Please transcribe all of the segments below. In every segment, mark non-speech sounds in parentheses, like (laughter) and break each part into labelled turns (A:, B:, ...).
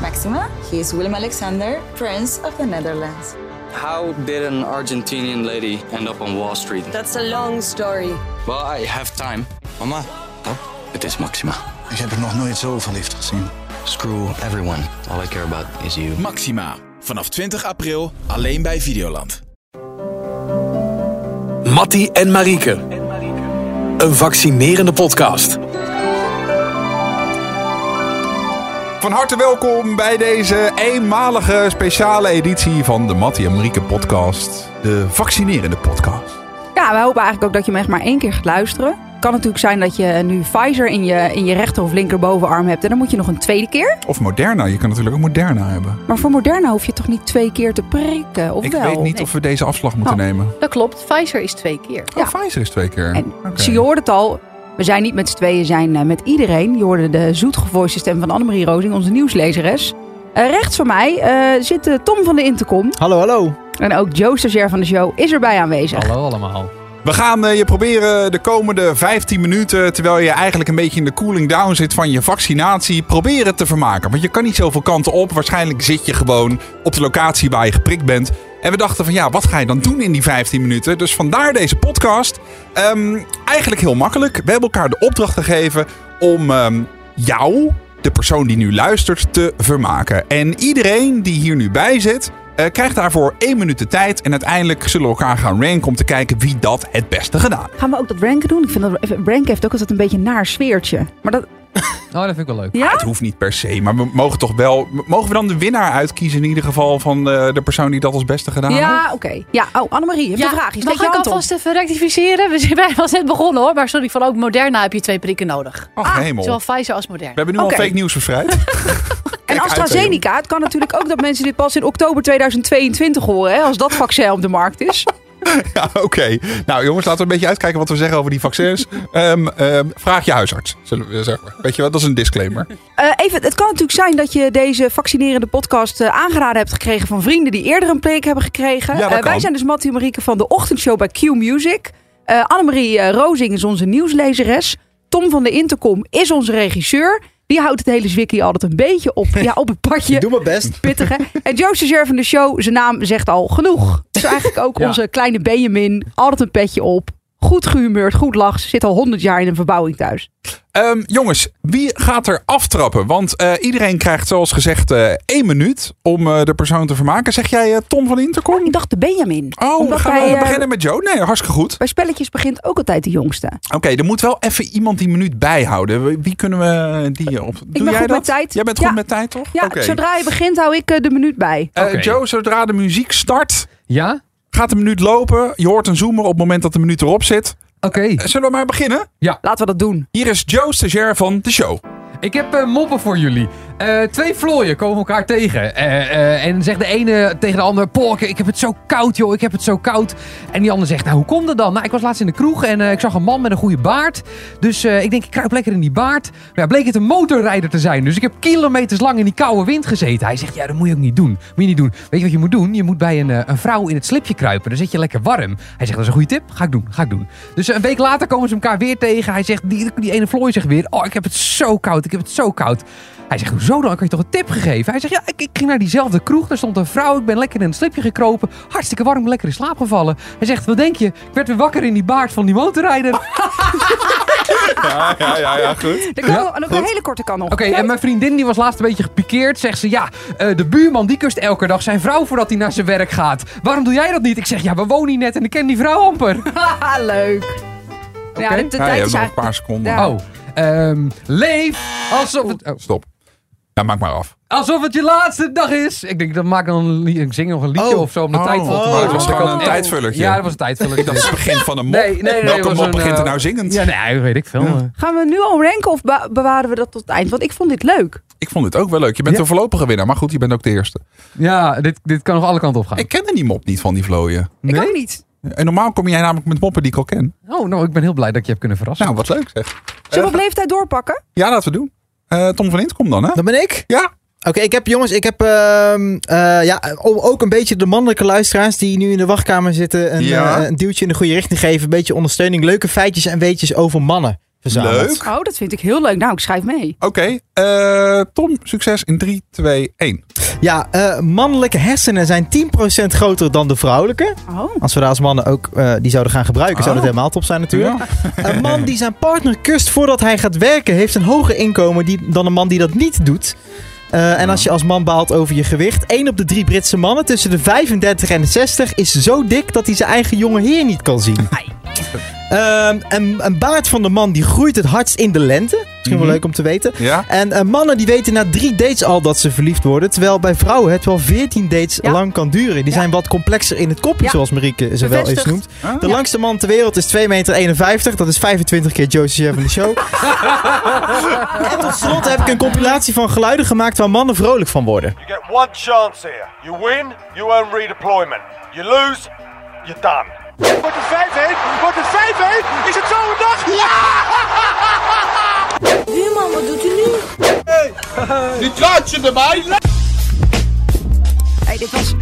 A: Maxima. He is Willem Alexander, Prince of the Netherlands.
B: How did an Argentinian lady end up on Wall Street?
C: That's a long story.
B: Well, I have time.
D: Mama,
B: Het is Maxima.
E: Ik heb er nog nooit zo verliefd gezien.
B: Screw everyone. All I care about is you.
F: Maxima. Vanaf 20 april alleen bij Videoland.
G: Mattie en Marieke. Een vaccinerende podcast.
H: Van harte welkom bij deze eenmalige speciale editie van de Mattie en Marieke podcast. De vaccinerende podcast.
I: Ja, we hopen eigenlijk ook dat je hem echt maar één keer gaat luisteren. Kan natuurlijk zijn dat je nu Pfizer in je, in je rechter of linkerbovenarm hebt. En dan moet je nog een tweede keer.
H: Of Moderna, je kan natuurlijk ook Moderna hebben.
I: Maar voor Moderna hoef je toch niet twee keer te prikken? Of
H: Ik
I: wel?
H: weet niet of we deze afslag moeten
I: Oh.
H: nemen.
J: Dat klopt, Pfizer is twee keer.
H: Oh, Pfizer is twee keer.
I: En
H: Oké.
I: ze- je hoort het al. We zijn niet met z'n tweeën, we zijn eh, met iedereen. Je hoorde de zoetgevoiste stem van Annemarie Rozing, onze nieuwslezeres. Eh, rechts van mij eh, zit eh, Tom van de Intercom.
D: Hallo, hallo.
I: En ook Joe, stagiair van de show, is erbij aanwezig.
K: Hallo allemaal.
H: We gaan eh, je proberen de komende 15 minuten, terwijl je eigenlijk een beetje in de cooling down zit van je vaccinatie, proberen te vermaken. Want je kan niet zoveel kanten op. Waarschijnlijk zit je gewoon op de locatie waar je geprikt bent. En we dachten van ja, wat ga je dan doen in die 15 minuten? Dus vandaar deze podcast. Ehm, eigenlijk heel makkelijk. We hebben elkaar de opdracht gegeven om ehm, jou, de persoon die nu luistert, te vermaken. En iedereen die hier nu bij zit, eh, krijgt daarvoor één minuut de tijd. En uiteindelijk zullen we elkaar gaan ranken om te kijken wie dat het beste gedaan heeft.
I: Gaan we ook dat ranken doen? Ik vind dat ranken heeft ook altijd een beetje een naar sfeertje. Maar dat,
K: Oh, dat vind ik wel leuk.
I: ja?
H: Het hoeft niet per se, maar we mogen toch wel. Mogen we dan de winnaar uitkiezen in ieder geval van eh, de persoon die dat als beste gedaan
J: Ah.
H: heeft?
I: Ja, oké. Ja, oh, Annemarie, je hebt een vraag. Je
J: mag
I: steekt je
J: ik
I: hand op.
J: alvast even rectificeren? We zijn (laughs) bijna net begonnen hoor. Maar sorry, van ook Moderna heb je twee prikken nodig.
I: Ah,
H: Ach, hemel.
J: Zowel
H: We
J: Pfizer als Moderna.
H: hebben nu
I: Oké.
H: al fake nieuws
I: (laughs)
H: verspreid.
I: En AstraZeneca, het kan natuurlijk ook dat mensen dit pas in oktober 2022 horen, hè, als dat vaccin op de markt is.
H: Ja, oké. Nou jongens, laten we een beetje uitkijken wat we zeggen over die
I: (laughs)
H: vaccins. Ehm, ehm, vraag je huisarts, zullen we zeggen. Weet je wat, dat is een disclaimer.
I: Eh, even, het kan natuurlijk zijn dat je deze vaccinerende podcast eh, aangeraden hebt gekregen van vrienden die eerder een prik hebben gekregen.
H: Ja, dat
I: Eh, wij
H: kan.
I: zijn dus Mattie en Marieke van de ochtendshow bij Q Music. Eh Annemarie eh, Rozing is onze nieuwslezeres. Tom van de Intercom is onze regisseur. Die houdt het hele zwikkie altijd een beetje op, ja, op het padje.
D: Ik doe mijn best.
I: Pittig, hè? En Joe Stagiair van de show, zijn naam zegt al genoeg. Dus eigenlijk
H: (laughs)
I: ook
K: Ja.
I: onze kleine Benjamin. Altijd een petje op. Goed gehumeurd, goed lacht. Zit al honderd jaar in een verbouwing thuis.
H: Ehm, jongens, wie gaat er aftrappen? Want eh, iedereen krijgt zoals gezegd eh één minuut om eh, de persoon te vermaken. Zeg jij eh, Tom van Intercom?
I: Ik dacht de Benjamin.
H: Oh, we
I: Omdat
H: gaan
I: wij,
H: we
I: eh,
H: beginnen met Joe? Nee, hartstikke goed.
I: Bij spelletjes begint ook altijd de jongste.
H: Oké, er moet wel even iemand die minuut bijhouden. Wie- Wie kunnen we die eh, op? Doe
I: ben
H: jij
I: goed
H: dat?
I: met tijd.
H: Jij bent
I: Ja.
H: goed met tijd, toch?
I: Ja,
H: Oké.
I: zodra je begint hou ik eh, de minuut bij.
H: Eh,
K: Oké.
H: Joe, zodra de muziek start,
K: Ja?
H: gaat de minuut lopen. Je hoort een zoomer op het moment dat de minuut erop zit.
K: Oké.
H: Eh, Zullen we maar beginnen?
I: Laten we dat doen.
H: Hier is Joe, stagiair van de show.
K: Ik heb eh, moppen voor jullie. Eh, twee vlooien komen elkaar tegen. Eh, eh, en zegt de ene tegen de ander... Porke, ik heb het zo koud, joh. Ik heb het zo koud. En die ander zegt... Nou, hoe komt dat dan? Nou, ik was laatst in de kroeg en eh, ik zag een man met een goede baard. Dus eh, ik denk, ik kruip lekker in die baard. Maar ja, bleek het een motorrijder te zijn. Dus ik heb kilometers lang in die koude wind gezeten. Hij zegt, ja, dat moet je ook niet doen. Moet je niet doen. Weet je wat je moet doen? Je moet bij een, eh, een vrouw in het slipje kruipen. Dan zit je lekker warm. Hij zegt, dat is een goede tip. Ga ik doen, ga ik doen. Dus eh, een week later komen ze elkaar weer tegen. Hij zegt, die, die ene Floy zegt weer... Oh, ik heb het zo koud, ik heb het zo koud. Hij zegt, hoezo dan? Ik had je toch een tip gegeven? Hij zegt, ja, ik, ik ging naar diezelfde kroeg. Daar stond een vrouw. Ik ben lekker in een slipje gekropen. Hartstikke warm, lekker in slaap gevallen. Hij zegt, wat denk je? Ik werd weer wakker in die baard van die motorrijder.
H: Ja, ja, ja, goed.
I: Er kan wel- en ook een hele korte kan nog.
K: Oké,
I: (laughs)
K: en mijn vriendin die was laatst een beetje gepikeerd. Zegt ze, ja, eh, de buurman die kust elke dag zijn vrouw voordat hij naar zijn werk gaat. Waarom doe jij dat niet? Ik zeg, ja, we wonen hier net en ik ken die vrouw amper.
I: Haha, Ah, leuk. Ja,
H: Ja,
I: de, de
H: je hebt
I: tijd is
H: nog een
I: eigenlijk...
H: paar seconden.
I: Ja.
K: Oh, ehm, leef alsof het, oh,
H: Stop. Ja, maak maar af.
K: alsof het je laatste dag is. Ik denk, dan maak dan een lied, ik zing nog een liedje
D: Oh.
K: of zo om de
H: Oh.
K: tijd vol te
D: Oh,
K: maken.
D: het was
K: Want ik
H: gewoon
K: had
H: een
K: echt-
H: tijdvullertje.
K: Ja, dat was een
H: (laughs)
K: tijdvullertje.
H: Dat is het begin van een mop.
K: Nee, nee, nee. het
H: Welke
K: was
H: mop
K: een,
H: begint er
K: eh,
H: nou zingend?
K: Ja, nee, weet ik veel. eh.
I: Gaan we nu al ranken of be- bewaren we dat tot het eind? Want ik vond dit leuk.
H: Ik vond dit ook wel leuk. Je bent
K: Ja.
H: de voorlopige winnaar, maar goed, je bent ook de eerste.
K: Ja, dit, dit kan nog alle kanten op gaan.
H: Ik kende die mop niet van die vlooien.
I: Ik
K: Nee?
I: ook niet.
H: En normaal kom jij namelijk met moppen die ik al ken.
K: Oh, nou, ik ben heel blij dat ik je heb kunnen verrassen.
H: Nou, wat leuk zeg.
I: Zullen we op leeftijd doorpakken?
H: Ja, laten we doen. Eh, Tom van Int, kom dan hè?
D: Dat ben ik.
H: Ja.
D: Oké, ik heb jongens, ik heb ehm, eh, ja, o- ook een beetje de mannelijke luisteraars die nu in de wachtkamer zitten. Een,
H: Ja.
K: eh,
D: eh, een duwtje in de goede richting geven. Een beetje ondersteuning. Leuke feitjes en weetjes over mannen. verzameld.
H: Leuk.
I: Oh, dat vind ik heel leuk. Nou, ik schrijf mee.
H: Oké, eh, Tom, succes in 3, 2, 1.
D: Ja, eh, mannelijke hersenen zijn 10% groter dan de vrouwelijke.
I: Oh.
D: Als we daar als mannen ook eh, die zouden gaan gebruiken, zou dat
H: Oh.
D: helemaal top zijn natuurlijk. (laughs) Een man die zijn partner kust voordat hij gaat werken, heeft een hoger inkomen die, dan een man die dat niet doet. Eh, en als je als man baalt over je gewicht, 1 op de 3 Britse mannen tussen de 35 en de 60 is zo dik dat hij zijn eigen jonge heer niet kan zien. Ehm, een, een baard van de man die groeit het hardst in de lente. Misschien wel leuk om te weten.
H: Ja?
D: En eh, mannen die weten na drie dates al dat ze verliefd worden. Terwijl bij vrouwen het wel veertien dates
I: Ja.
D: lang kan duren. Die zijn wat complexer in het kopje,
I: Ja.
D: zoals Marieke ze wel eens
J: Bevestigd.
D: noemt.
H: Ah.
D: De langste man ter wereld is 2,51 meter. Dat is 25 keer Josie Chef in de
I: (laughs)
D: show. en tot slot heb ik een compilatie van geluiden gemaakt waar mannen vrolijk van worden.
C: You get one chance here. You win, you earn redeployment. You lose, you're done. Wordt het 5-1? Wordt het 5-1? Is het zo'n dag?
I: Hey, dit, was,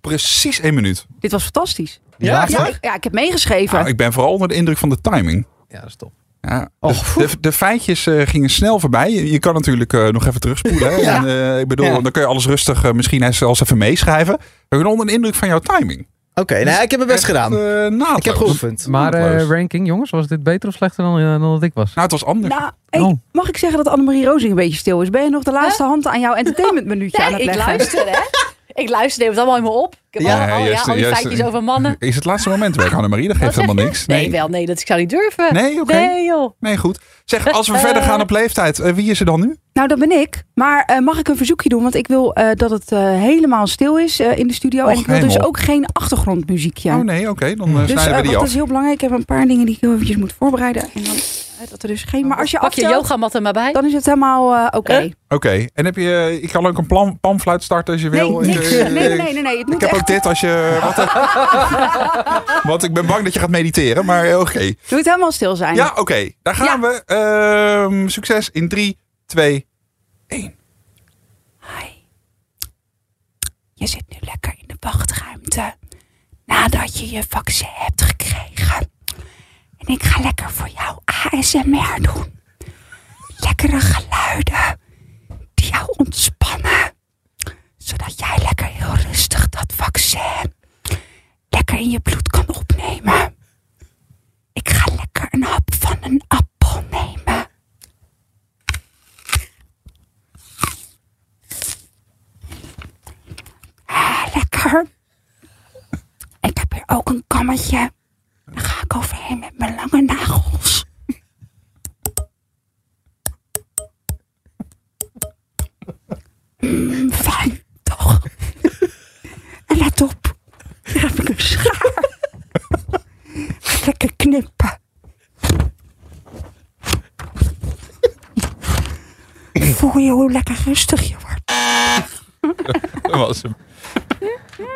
H: Precies één minuut.
I: dit was fantastisch.
D: Die Ah, ja,
I: Ja, ik- ja, ik heb meegeschreven.
H: Nou, ik ben vooral onder de indruk van de timing.
K: Ja, dat is top.
H: Ja,
D: Oh,
H: dus de, de, de feitjes eh, gingen snel voorbij. Je, je kan natuurlijk eh, nog even terugspoelen. Hè? En, eh, ik bedoel,
D: (laughs) Ja.
H: dan kun je alles rustig eh, misschien eens- zelfs even meeschrijven. Ik ben onder de indruk van jouw timing. Dus
D: Oké, nou, ik heb mijn best
H: Echt,
D: gedaan.
H: eh, naadloos.
D: ik heb geoefend.
K: Maar eh,
H: Kansloos.
K: ranking, jongens, was dit beter of slechter dan, eh, dan dat ik was?
H: Nou, het was anders.
I: Nou, hey,
K: Oh.
I: mag ik zeggen dat Annemarie Rozing een beetje stil is? Ben je nog de laatste hand aan jouw entertainmentminuutje aan
J: Nee,
I: het
J: ik
I: leggen?
J: luister, hè. (laughs) Ik luister, neem het allemaal in me op. Ik heb
D: Ja,
J: allemaal, ja,
H: juist,
J: al die
H: juist.
J: feitjes over mannen.
H: Is het laatste moment
I: Ah.
H: werk, Annemarie? Dat
J: Wat
H: geeft
J: zeg
H: helemaal
J: je?
H: niks.
J: Nee, wel, nee, dat ik zou niet durven.
H: Nee, oké.
J: Nee, joh.
H: Nee, goed. Zeg, als
I: Eh,
H: we verder gaan op leeftijd, eh, wie is er dan nu?
I: Nou, dat ben ik. Maar eh, mag ik een verzoekje doen? Want ik wil eh, dat het eh, helemaal stil is eh, in de studio. en
H: Och,
I: ik wil dus
H: hemel.
I: ook geen achtergrondmuziekje.
H: Oh nee, oké, dan eh,
I: dus eh,
H: snijden we
I: want
H: die
I: dat
H: af.
I: is heel belangrijk. Ik heb een paar dingen die ik heel eventjes moet voorbereiden. En dan eh, dat er dus geen... Maar als je
J: Pak je
I: aftelt,
J: yogamat er maar bij.
I: dan is het helemaal eh, oké.
H: Oké, en heb je, eh, ik kan ook een plan, panfluit starten als je
I: Nee,
H: wil.
I: niks.
H: Eh,
I: Nee, nee, nee. nee, nee. Het
H: Ik
I: moet
H: heb
I: echt...
H: ook dit als je. Wat,
I: (laughs)
H: want ik ben bang dat je gaat mediteren, maar eh, oké.
I: Doe het helemaal stil zijn.
H: Ja, oké, daar gaan we. Ehm, succes in 3, 2.
I: Je zit nu lekker in de wachtruimte nadat je je vaccin hebt gekregen. En ik ga lekker voor jou ASMR doen. Lekkere geluiden die jou ontspannen. Zodat jij lekker heel rustig dat vaccin lekker in je bloed kan opnemen. Ik ga lekker een hap van een appel nemen. Ah, lekker. Ik heb hier ook een kammetje. Daar ga ik overheen met mijn lange nagels. Mm, fijn, toch? En let op. Hier heb ik een schaar. Ga ik Lekker knippen. Voel je hoe lekker rustig je wordt?
H: (laughs) Dat was hem.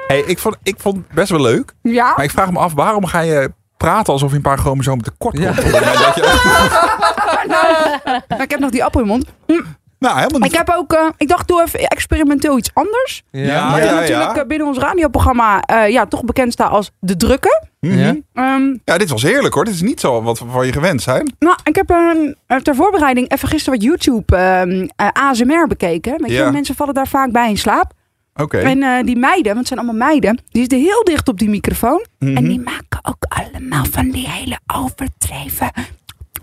H: Hey, ik, vond, ik vond het best wel leuk.
I: Ja?
H: Maar ik vraag me af, waarom ga je praten alsof je een paar chromosomen tekort komt?
K: Ja.
H: Dat je- (laughs)
I: Maar ik heb nog die appel in mijn mond.
H: Nou, helemaal
I: Ik
H: niet.
I: heb ook, eh, ik dacht doe even experimenteel iets anders.
H: Ja,
I: Maar
H: ja,
I: ik
H: ja.
I: natuurlijk eh, binnen ons radioprogramma eh, ja, toch bekend sta als De Drukke.
H: Mhm.
K: Ja?
H: Oh,
I: Ehm,
H: Ja, dit was heerlijk hoor. Dit is niet zo wat we van je gewend zijn.
I: nou, ik heb ehm, eh, ter voorbereiding even gisteren wat YouTube ehm, eh, ASMR bekeken. Weet je,
H: Ja.
I: mensen vallen daar vaak bij in slaap.
H: Oké.
I: En eh, die meiden, want het zijn allemaal meiden, die zitten heel dicht op die microfoon.
H: Mhm.
I: En die maken ook allemaal van die hele overdreven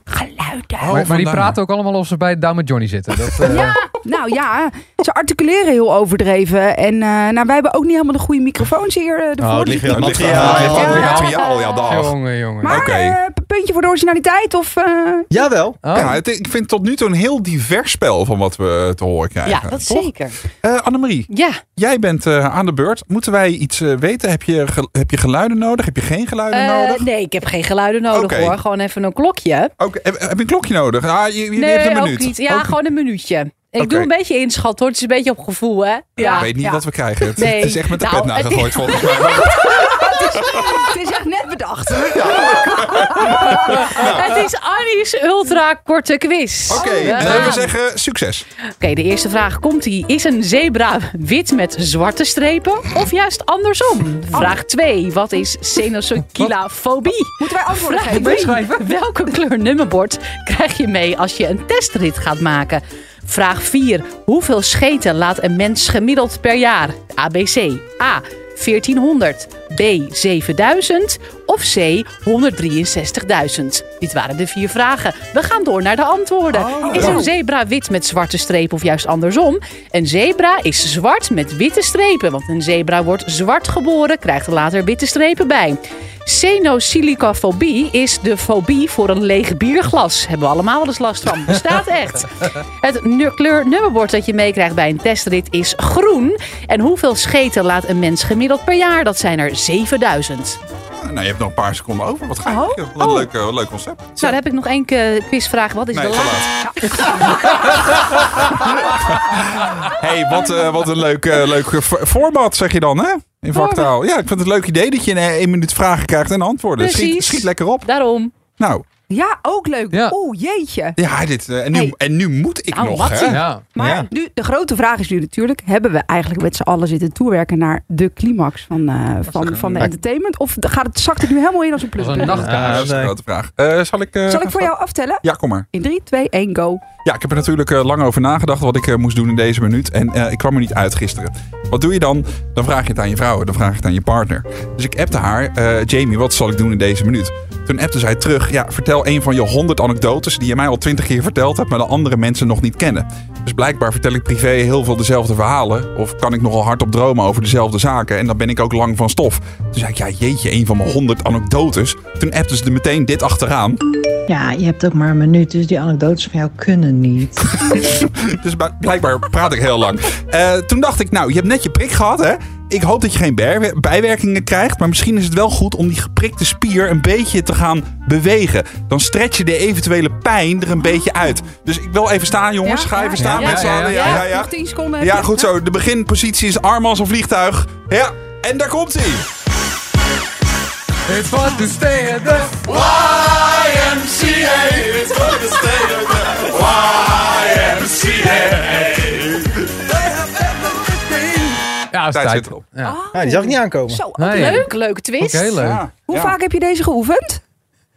I: geluiden.
K: maar, maar die
H: vandaar.
K: praten ook allemaal alsof ze bij Down met Johnny zitten. Dat, eh,
H: Oh.
I: Nou ja, ze articuleren heel overdreven. En eh, nou, wij hebben ook niet helemaal de goede microfoons hier. eh,
H: Oh,
I: ervoor.
D: het ligt weer aan
H: Het
D: het
H: ligt aan het ligt aan het materiaal. Ja, dag.
K: Jongen, jongen.
I: Maar
H: Oké.
I: eh, puntje voor de originaliteit of... eh,
D: Jawel.
K: Oh.
H: Ja, het- ik vind tot nu toe een heel divers spel van wat we eh, te horen krijgen.
J: Ja, dat
H: Toch?
J: zeker.
H: Eh, Annemarie,
J: Ja.
H: jij bent eh, aan de beurt. Moeten wij iets eh, weten? Heb je, ge- heb je geluiden nodig? Heb je geen geluiden
J: Eh,
H: nodig?
J: nee, ik heb geen geluiden nodig
H: Oké.
J: hoor. Gewoon even een klokje.
H: Oké, heb, heb je een klokje nodig? Ah, je, je- je
J: nee,
H: hebt een
J: ook
H: minuut.
J: niet. Ja,
H: Ook-
J: gewoon een minuutje. Ik
H: Oké.
J: doe een beetje inschat hoor. Het is een beetje op gevoel hè. Ja.
H: Ik weet niet wat we krijgen. Het,
J: Nee.
H: het is echt met de
J: Nou,
H: pet
J: het- (laughs)
H: nagegooid volgens mij.
I: (laughs) Het is echt net bedacht. (laughs)
J: Het is Annie's ultra korte quiz.
H: Oké,
J: Daar
H: en we
J: gaan.
H: zeggen succes.
J: Oké, de eerste vraag komt ie. Is een zebra wit met zwarte strepen of juist andersom? Vraag 2. Wat is senosokilafobie? Moeten wij
I: antwoorden
J: Vraag
I: geven?
J: drie.
I: Meeschrijven?
J: Welke kleur nummerbord krijg je mee als je een testrit gaat maken? Vraag 4. Hoeveel scheten laat een mens gemiddeld per jaar? ABC. A. 1400. B. 7000. Of C. 163.000. Dit waren de vier vragen. We gaan door naar de antwoorden. is een zebra wit met zwarte strepen of juist andersom? Een zebra is zwart met witte strepen. Want een zebra wordt zwart geboren, krijgt er later witte strepen bij. Senosylicafobie is de fobie voor een leeg bierglas. Hebben we allemaal wel eens last van. Bestaat
H: (laughs)
J: echt. Het nu- kleur nummerbord dat je meekrijgt bij een testrit is groen. En hoeveel scheten laat een mens gemiddeld per jaar? Dat zijn er 7000.
H: Ah, Nou, je hebt nog een paar seconden over. Wat
J: Oh.
H: ga je? Wat een leuk, eh, leuk concept.
J: Zo, dan heb ik nog één ke- quizvraag. Wat is
H: Nee,
J: de
H: te hey, wat, eh, wat een leuk, eh, leuk eh, vo- format, zeg je dan, hè? In vaktaal. Ja, ik vind het een leuk idee dat je in eh, één minuut vragen krijgt en antwoorden. Schiet,
I: Precies.
H: schiet lekker op.
J: Daarom.
H: Nou,
I: Ja, ook leuk. Oeh, jeetje.
H: ja, dit, eh, en, nu,
I: Hey.
H: en nu moet ik
I: Nou,
H: nog,
I: wat
H: hè?
I: zeg. Maar nu, de grote vraag is nu natuurlijk: hebben we eigenlijk met z'n allen zitten toewerken naar de climax van, eh, van, van de entertainment? Of gaat het, zakt het nu helemaal in als een plus?
H: Ja, dat is een grote vraag. Eh, zal ik... eh,
I: Zal ik voor jou aftellen?
H: Ja, kom maar.
I: In 3, 2, 1, go.
H: Ja, ik heb er natuurlijk eh, lang over nagedacht wat ik eh, moest doen in deze minuut. En eh, ik kwam er niet uit gisteren. Wat doe je dan? Dan vraag je het aan je vrouw, dan vraag je het aan je partner. Dus ik appte haar, eh, Jamie, wat zal ik doen in deze minuut? Toen appte zij terug, ja, vertel een van je honderd anekdotes die je mij al twintig keer verteld hebt, maar de andere mensen nog niet kennen. Dus blijkbaar vertel ik privé heel veel dezelfde verhalen. Of kan ik nogal hardop dromen over dezelfde zaken. En dan ben ik ook lang van stof. Toen zei ik, ja, jeetje, een van mijn honderd anekdotes. Toen appte ze er meteen dit achteraan.
L: Ja, je hebt ook maar een minuut, dus die anekdotes van jou kunnen niet.
H: (laughs) Dus bl- blijkbaar praat ik heel lang. Eh, toen dacht ik, nou, je hebt net je prik gehad, hè? Ik hoop dat je geen ber- bijwerkingen krijgt. Maar misschien is het wel goed om die geprikte spier een beetje te gaan bewegen. Dan stretch je de eventuele pijn er een beetje uit. Dus ik wil even staan, jongens. Ga even staan
I: ja,
H: met z'n
I: ja,
H: allen.
I: ja.
H: Ja, ja, ja.
I: Nog 10 seconden.
H: Ja, goed zo. De beginpositie is arm als een vliegtuig. Ja, en daar komt hij.
K: It's fun to stay at the
M: YMCA, it's for the state of the YMCA.
K: Ja,
H: tijd zit erop.
D: Ja, die zag ik niet aankomen.
I: Zo, ook leuk. Leuke twist.
H: Oké, leuk. Ja,
I: Hoe
H: ja.
I: vaak heb je deze geoefend?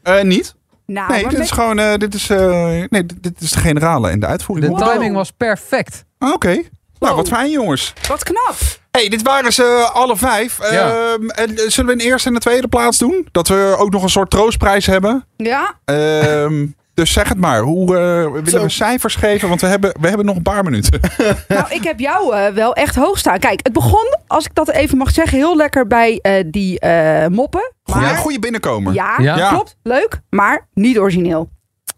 H: Eh, niet?
I: Nou,
H: nee,
I: maar
H: dit is
I: met-
H: gewoon... eh, dit, is, eh, nee, dit, dit is de generale en de uitvoering.
K: De timing was perfect.
H: Oké. Nou, wat fijn, jongens.
I: Wat knap.
H: hey, dit waren ze alle vijf.
K: Ja.
H: Ehm, en, eh, zullen we een eerste en een tweede plaats doen? Dat we ook nog een soort troostprijs hebben.
I: Ja.
H: Ehm, (laughs) dus zeg het maar. Hoe eh, willen we cijfers geven? Want we hebben, we hebben nog een paar minuten. (laughs)
I: Nou, ik heb jou eh, wel echt hoog staan. Kijk, het begon, als ik dat even mag zeggen, heel lekker bij eh, die eh, moppen.
H: Goeie, goeie binnenkomer.
I: Ja, klopt. Leuk, maar niet origineel.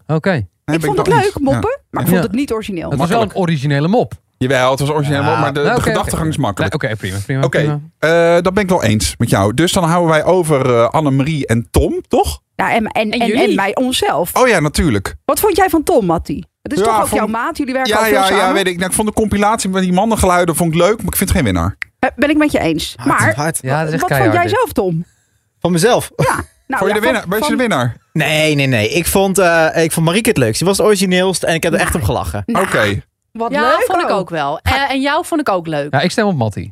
K: Oké.
I: ik vond het leuk, moppen, maar ik vond het niet
J: Oh,
I: origineel.
K: Het was wel een originele mop.
H: Jawel, het was origineel,
K: Ja.
H: maar de,
K: Nou,
H: de
K: oké,
H: gedachtegang
K: oké.
H: is makkelijk.
K: Nee, Oké, prima. prima
H: Oké,
K: prima.
H: eh, dat ben ik wel eens met jou. Dus dan houden wij over eh, Annemarie en Tom, toch?
I: Ja, Nou, en, en, en, en,
J: jullie?
I: bij onszelf.
H: Oh ja, natuurlijk.
I: Wat vond jij van Tom, Matti? Het is
H: Ja,
I: toch ook
H: vond-
I: jouw maat, jullie werken al
H: Ja,
I: veel
H: ja,
I: samen.
H: ja, weet ik. Nou, ik vond de compilatie met die mannengeluiden vond ik leuk, maar ik vind het geen winnaar.
I: Eh, Ben ik met je eens. maar
K: Ja,
I: wat vond jij zelf,
H: (laughs)
I: Tom?
D: Van mezelf?
I: Nou, ja, van- van-
H: winnaar?
D: Nee, nee, nee. Ik vond, eh ik vond Marieke het leukst. Die was het origineelst en ik heb er echt om gelachen.
I: Nou.
H: Oké.
I: Wat
J: ja,
I: leuk oh.
J: vond ik
I: ook.
J: ook wel. Eh, en jou vond ik ook leuk.
K: Ja, ik stem op Matty.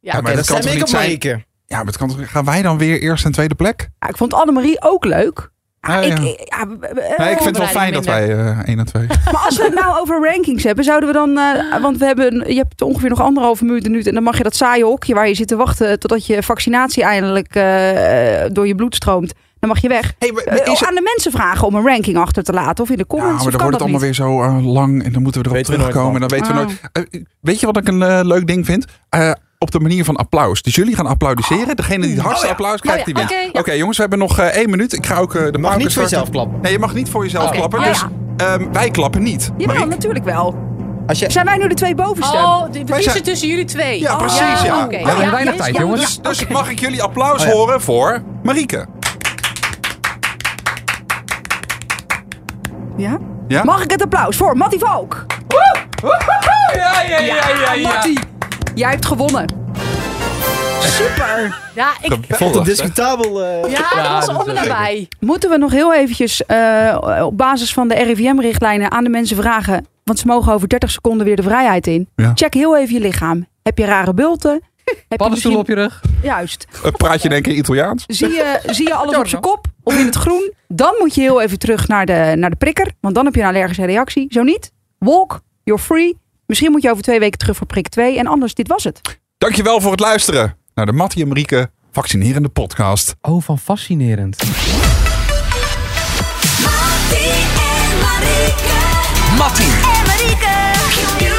J: Ja,
H: maar dat kan toch niet zijn?
J: Ah,
H: Ja, maar het kan toch, gaan wij dan weer eerst en tweede plek?
I: Ja, ik vond Annemarie ook leuk.
H: Ah,
I: ik,
H: ja.
I: ik- ja, b- b- eh,
H: Nee, ik vind het wel fijn dat wij eh 1 en 2.
I: Maar als we het nou over rankings hebben, zouden we dan...
J: Ah.
I: eh, want we hebben, je hebt ongeveer nog anderhalve minuut nu. En dan mag je dat saaie hokje waar je zit te wachten... totdat je vaccinatie eindelijk eh, door je bloed stroomt. Dan mag je weg.
H: maar
I: Eh,
H: is het-
I: aan de mensen vragen om een ranking achter te laten. Of in de
H: Ja,
I: comments.
H: maar
I: of
H: dan
I: kan
H: wordt het
I: dat Oh.
H: allemaal weer zo eh, lang en dan moeten we erop
D: we nooit
H: terugkomen. en dan weten we
I: van.
H: nooit. Eh, weet je wat ik een eh, leuk ding vind? Eh, op de manier van applaus. Dus jullie gaan applaudisseren. Degene die het hardste applaus krijgt,
I: Oh ja,
H: die wint.
I: oké,
H: Oké, jongens, we hebben nog eh, één minuut. Ik ga ook eh, de
D: mag niet
H: pauze
D: voor
H: starten.
D: jezelf klappen.
H: Nee, je mag niet voor jezelf
I: Oké.
H: klappen.
I: Oh
H: Dus
I: ja.
H: ehm, wij klappen niet.
I: niet. Jawel,
H: Marieke.
I: natuurlijk wel.
D: Als je...
I: Zijn wij nu de twee bovenste?
J: Oh, de- we
H: Wij
J: kiezen
H: zijn-
J: tussen jullie twee.
H: Ja,
J: Oh,
H: precies. Ja.
J: oké.
H: We hebben
J: Ja,
H: weinig
J: ja,
H: tijd,
J: ja,
H: jongens.
J: ja.
H: Dus, dus mag ik jullie applaus horen voor Marieke?
I: Ja?
H: Ja?
I: Mag ik het applaus voor Mattie Valk?
K: Ja, ja, ja, ja. ja.
I: Mattie, jij hebt gewonnen. super.
J: Ja, ik
C: Ik vond het discutabel. eh.
J: Ja, dat
K: dus,
J: was om en nabij.
I: Moeten we nog heel eventjes eh, op basis van de RIVM-richtlijnen aan de mensen vragen... want ze mogen over 30 seconden weer de vrijheid in.
H: Ja.
I: Check heel even je lichaam. Heb je rare bulten? Heb
K: Paddenstoel op je rug.
I: Juist.
H: Eh, Praat je denk ik Italiaans?
I: Zie je, zie je alles op zijn kop of in het groen? Dan moet je heel even terug naar de, naar de prikker. Want dan heb je een allergische reactie. Zo niet, walk, you're free. Misschien moet je over twee weken terug voor prik 2. En anders, dit was het.
H: Dankjewel voor het luisteren naar de Mattie en Marieke Vaccinerende Podcast.
K: Oh, van fascinerend.
N: Mattie en Marieke. Mattie en Marieke.